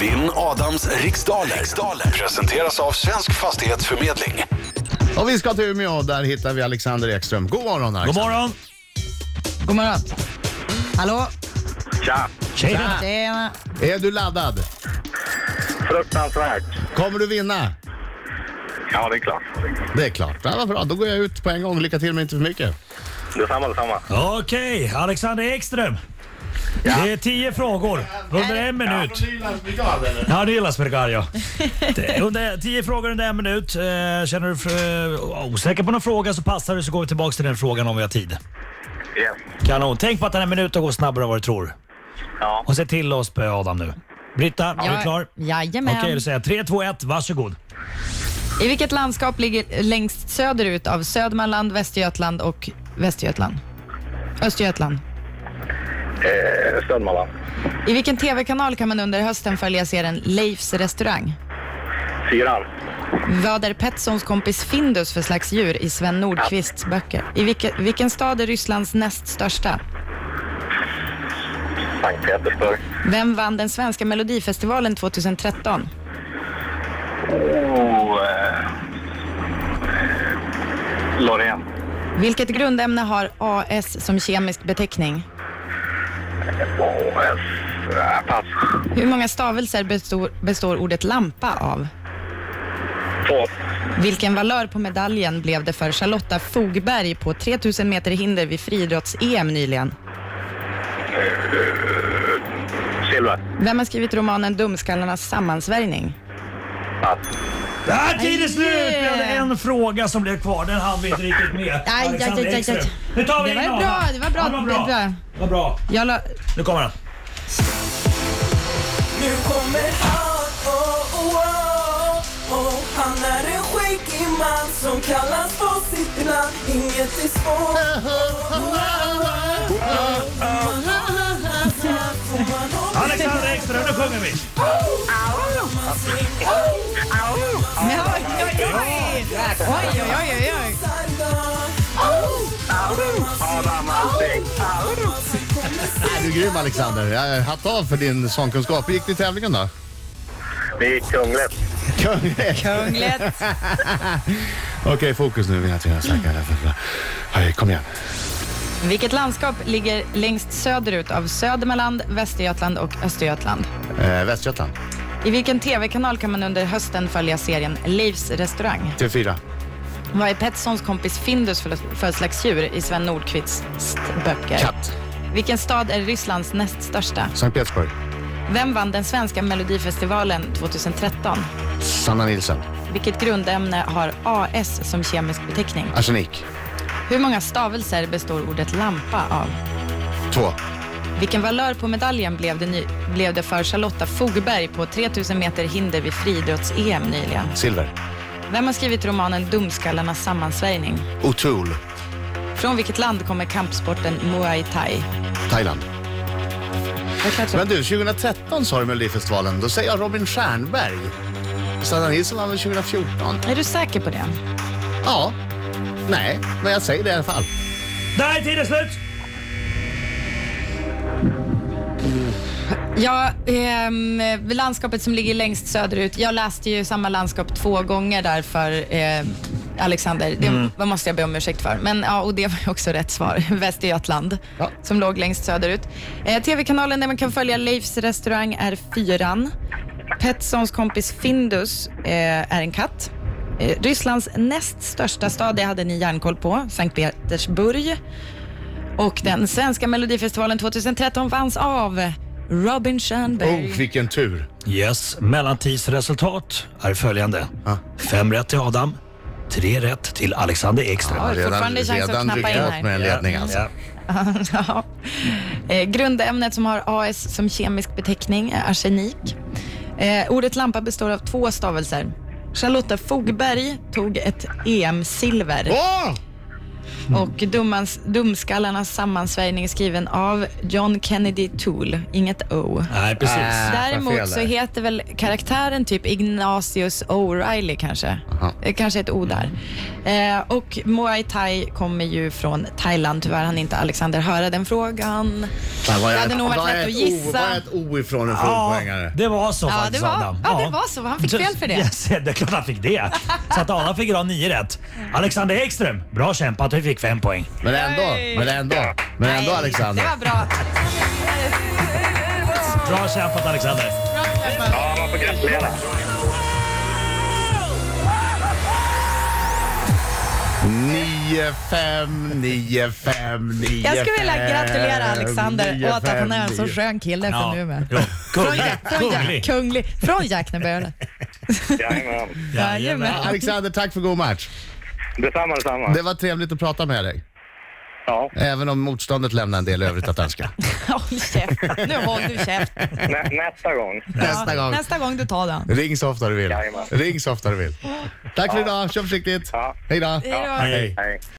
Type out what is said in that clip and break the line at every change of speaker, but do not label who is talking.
Vinn Adams riksdaler. riksdaler presenteras av Svensk Fastighetsförmedling.
Och vi ska till Umeå, där hittar vi Alexander Ekström. God morgon
God
Alexander.
morgon!
God morgon. Hallå?
Tja!
Tjena!
Tjena.
Är du laddad?
Fruktansvärt.
Kommer du vinna?
Ja, det är klart.
Det är klart. Ja, vad bra, då går jag ut på en gång. Lycka till men inte för mycket.
Detsamma, detsamma.
Okej, Alexander Ekström. Det är tio frågor under en minut. Ja, Nilas Bergario. Under tio frågor under en minut. Eh, Känner du för, eh, osäker på någon fråga så passar du så går vi tillbaka till den frågan om vi har tid.
Yes.
Kanon. Tänk på att den här minuten går snabbare än vad du tror.
Ja.
Och se till att spöa Adam nu. Britta, är du klar?
Jajamän.
Okej, då säger jag 3, 2, 1, varsågod.
I vilket landskap ligger längst söderut av Södermanland, Västergötland och Västergötland? Östergötland.
Eh, Södermanland.
I vilken TV-kanal kan man under hösten följa serien Leifs restaurang?
Fyran.
Vad är Petterssons kompis Findus för slags djur i Sven Nordqvists böcker? I vilke, vilken stad är Rysslands näst största?
Sankt Petersburg.
Vem vann den svenska melodifestivalen 2013?
Oh, eh. Loreen.
Vilket grundämne har AS som kemisk beteckning?
Oh, eh. eh, Pass.
Hur många stavelser består, består ordet lampa av?
Två.
Vilken valör på medaljen blev det för Charlotta Fogberg på 3000 meter hinder vid friidrotts-EM nyligen?
Silver.
Vem har skrivit romanen Dumskallarnas sammansvärjning?
Pass.
Där tid är
Aj,
slut! Vi hade
yeah.
en fråga som blev kvar, den hann vi inte riktigt med.
aj,
Alexander
aj, aj, aj.
Ekström. Nu tar vi
Det
in
var
Adam.
bra, det var bra,
Ja, Det var
det var
bra.
bra.
Det var bra.
Jag la...
Nu kommer han.
Nu kommer han, oh, oh, oh, oh. Han är en skäggig man som kallas på sitt namn Inget är svårt
Alexander Ekström, nu sjunger vi.
Men oj, oj, oj! Oj, oj, oj, oj, oj.
Adam Alsing.
Du är grym Alexander. Jag hatt av för din sångkunskap. Hur gick det i tävlingen då?
Det gick kungligt.
Kungligt.
Okej, fokus nu. Vi har tre snackar. Hej, kom igen.
Vilket landskap ligger längst söderut av Södermanland, Västergötland och Östergötland?
Eh, Västgötland.
I vilken TV-kanal kan man under hösten följa serien Leifs restaurang?
TV4.
Vad är Petterssons kompis Findus för, för slags djur i Sven Nordqvists böcker?
Katt.
Vilken stad är Rysslands näst största?
Sankt Petersburg.
Vem vann den svenska melodifestivalen 2013?
Sanna Nilsson.
Vilket grundämne har AS som kemisk beteckning?
Arsenik.
Hur många stavelser består ordet lampa av?
Två.
Vilken valör på medaljen blev det, ny, blev det för Charlotta Fogberg på 3000 meter hinder vid friidrotts-EM nyligen?
Silver.
Vem har skrivit romanen Dumskallarnas sammansvärjning?
O'Toole.
Från vilket land kommer kampsporten Muay Thai?
Thailand.
Det är klart jag-
Men du, 2013 sa du Melodifestivalen. Då säger jag Robin Stjernberg. Sanna Nilsson var väl 2014?
Är du säker på det?
Ja. Nej, men jag säger det i alla fall.
Där är tiden slut.
Ja, ehm, landskapet som ligger längst söderut. Jag läste ju samma landskap två gånger där för eh, Alexander. Det vad måste jag be om ursäkt för. Men ja, och det var ju också rätt svar. Västergötland,
Ja.
som låg längst söderut. Eh, TV-kanalen där man kan följa Leifs restaurang är Fyran. Petterssons kompis Findus eh, är en katt. Eh, Rysslands näst största stad, det hade ni järnkoll på, Sankt Petersburg. Och den svenska melodifestivalen 2013 vanns av Robin Stjernberg.
Oh, vilken tur.
Yes, mellantidsresultat är följande.
Ja.
Fem rätt till Adam, tre rätt till Alexander Ekström.
Ja, det är fortfarande chans att
redan
knappa
ryckt
in
åt
här.
med en ledning alltså.
Ja.
ja. eh, grundämnet som har AS som kemisk beteckning är arsenik. Eh, ordet lampa består av två E stavelser. Charlotta Fogberg tog ett EM-silver.
Åh!
Och Dummans, Dumskallarnas sammansvärjning är skriven av John Kennedy Toole, inget O.
Nej, precis.
Äh. vad
Däremot
fel
så
där.
heter väl karaktären typ Ignatius O'Reilly kanske.
Aha.
Eh, Kanske ett O där. Eh, och Muay Thai kommer ju från Thailand. Tyvärr hann inte Alexander höra den frågan.
Där var
Det
jag
hade
ett-
nog varit
var jag ett
lätt att
O-
gissa.
Var jag ett O ifrån en
Ja,
fullpoängare?
det var så
Ja,
faktiskt
det var-
Adam.
ja, det var så. Han fick fel för det.
Yes, det är klart han fick det. Så att Adam fick idag nio rätt. Alexander Ekström, bra kämpat. Du fick fem poäng.
Men ändå,
Nej.
men ändå, men ändå
Nej,
Alexander.
Det var bra.
Bra kämpat Alexander.
Ja, man får gratulera.
Nio fem nio fem nio
Jag skulle vilja
fem,
gratulera Alexander
nio,
åt att
fem,
han är en så
nio.
skön kille från
Ja,
Umeå.
jo,
Från,
Kunglig.
Jack- från, Jack-
Kunglig.
kunglig. från Jackneböle.
Jajamän.
Jajamän.
Alexander, tack för god match.
Detsamma, detsamma.
Det var trevligt att prata med dig.
Ja.
Även om motståndet lämnar en del övrigt att önska.
Håll käften. Nu håller du käften.
Nä, nästa gång.
Nästa gång.
Nästa gång du tar den.
Ring så ofta du vill.
Jajamän.
Ring så ofta du vill. Tack för idag. Kör försiktigt.
Ja.
Hej då.
Hej då.
Hej.
Hej.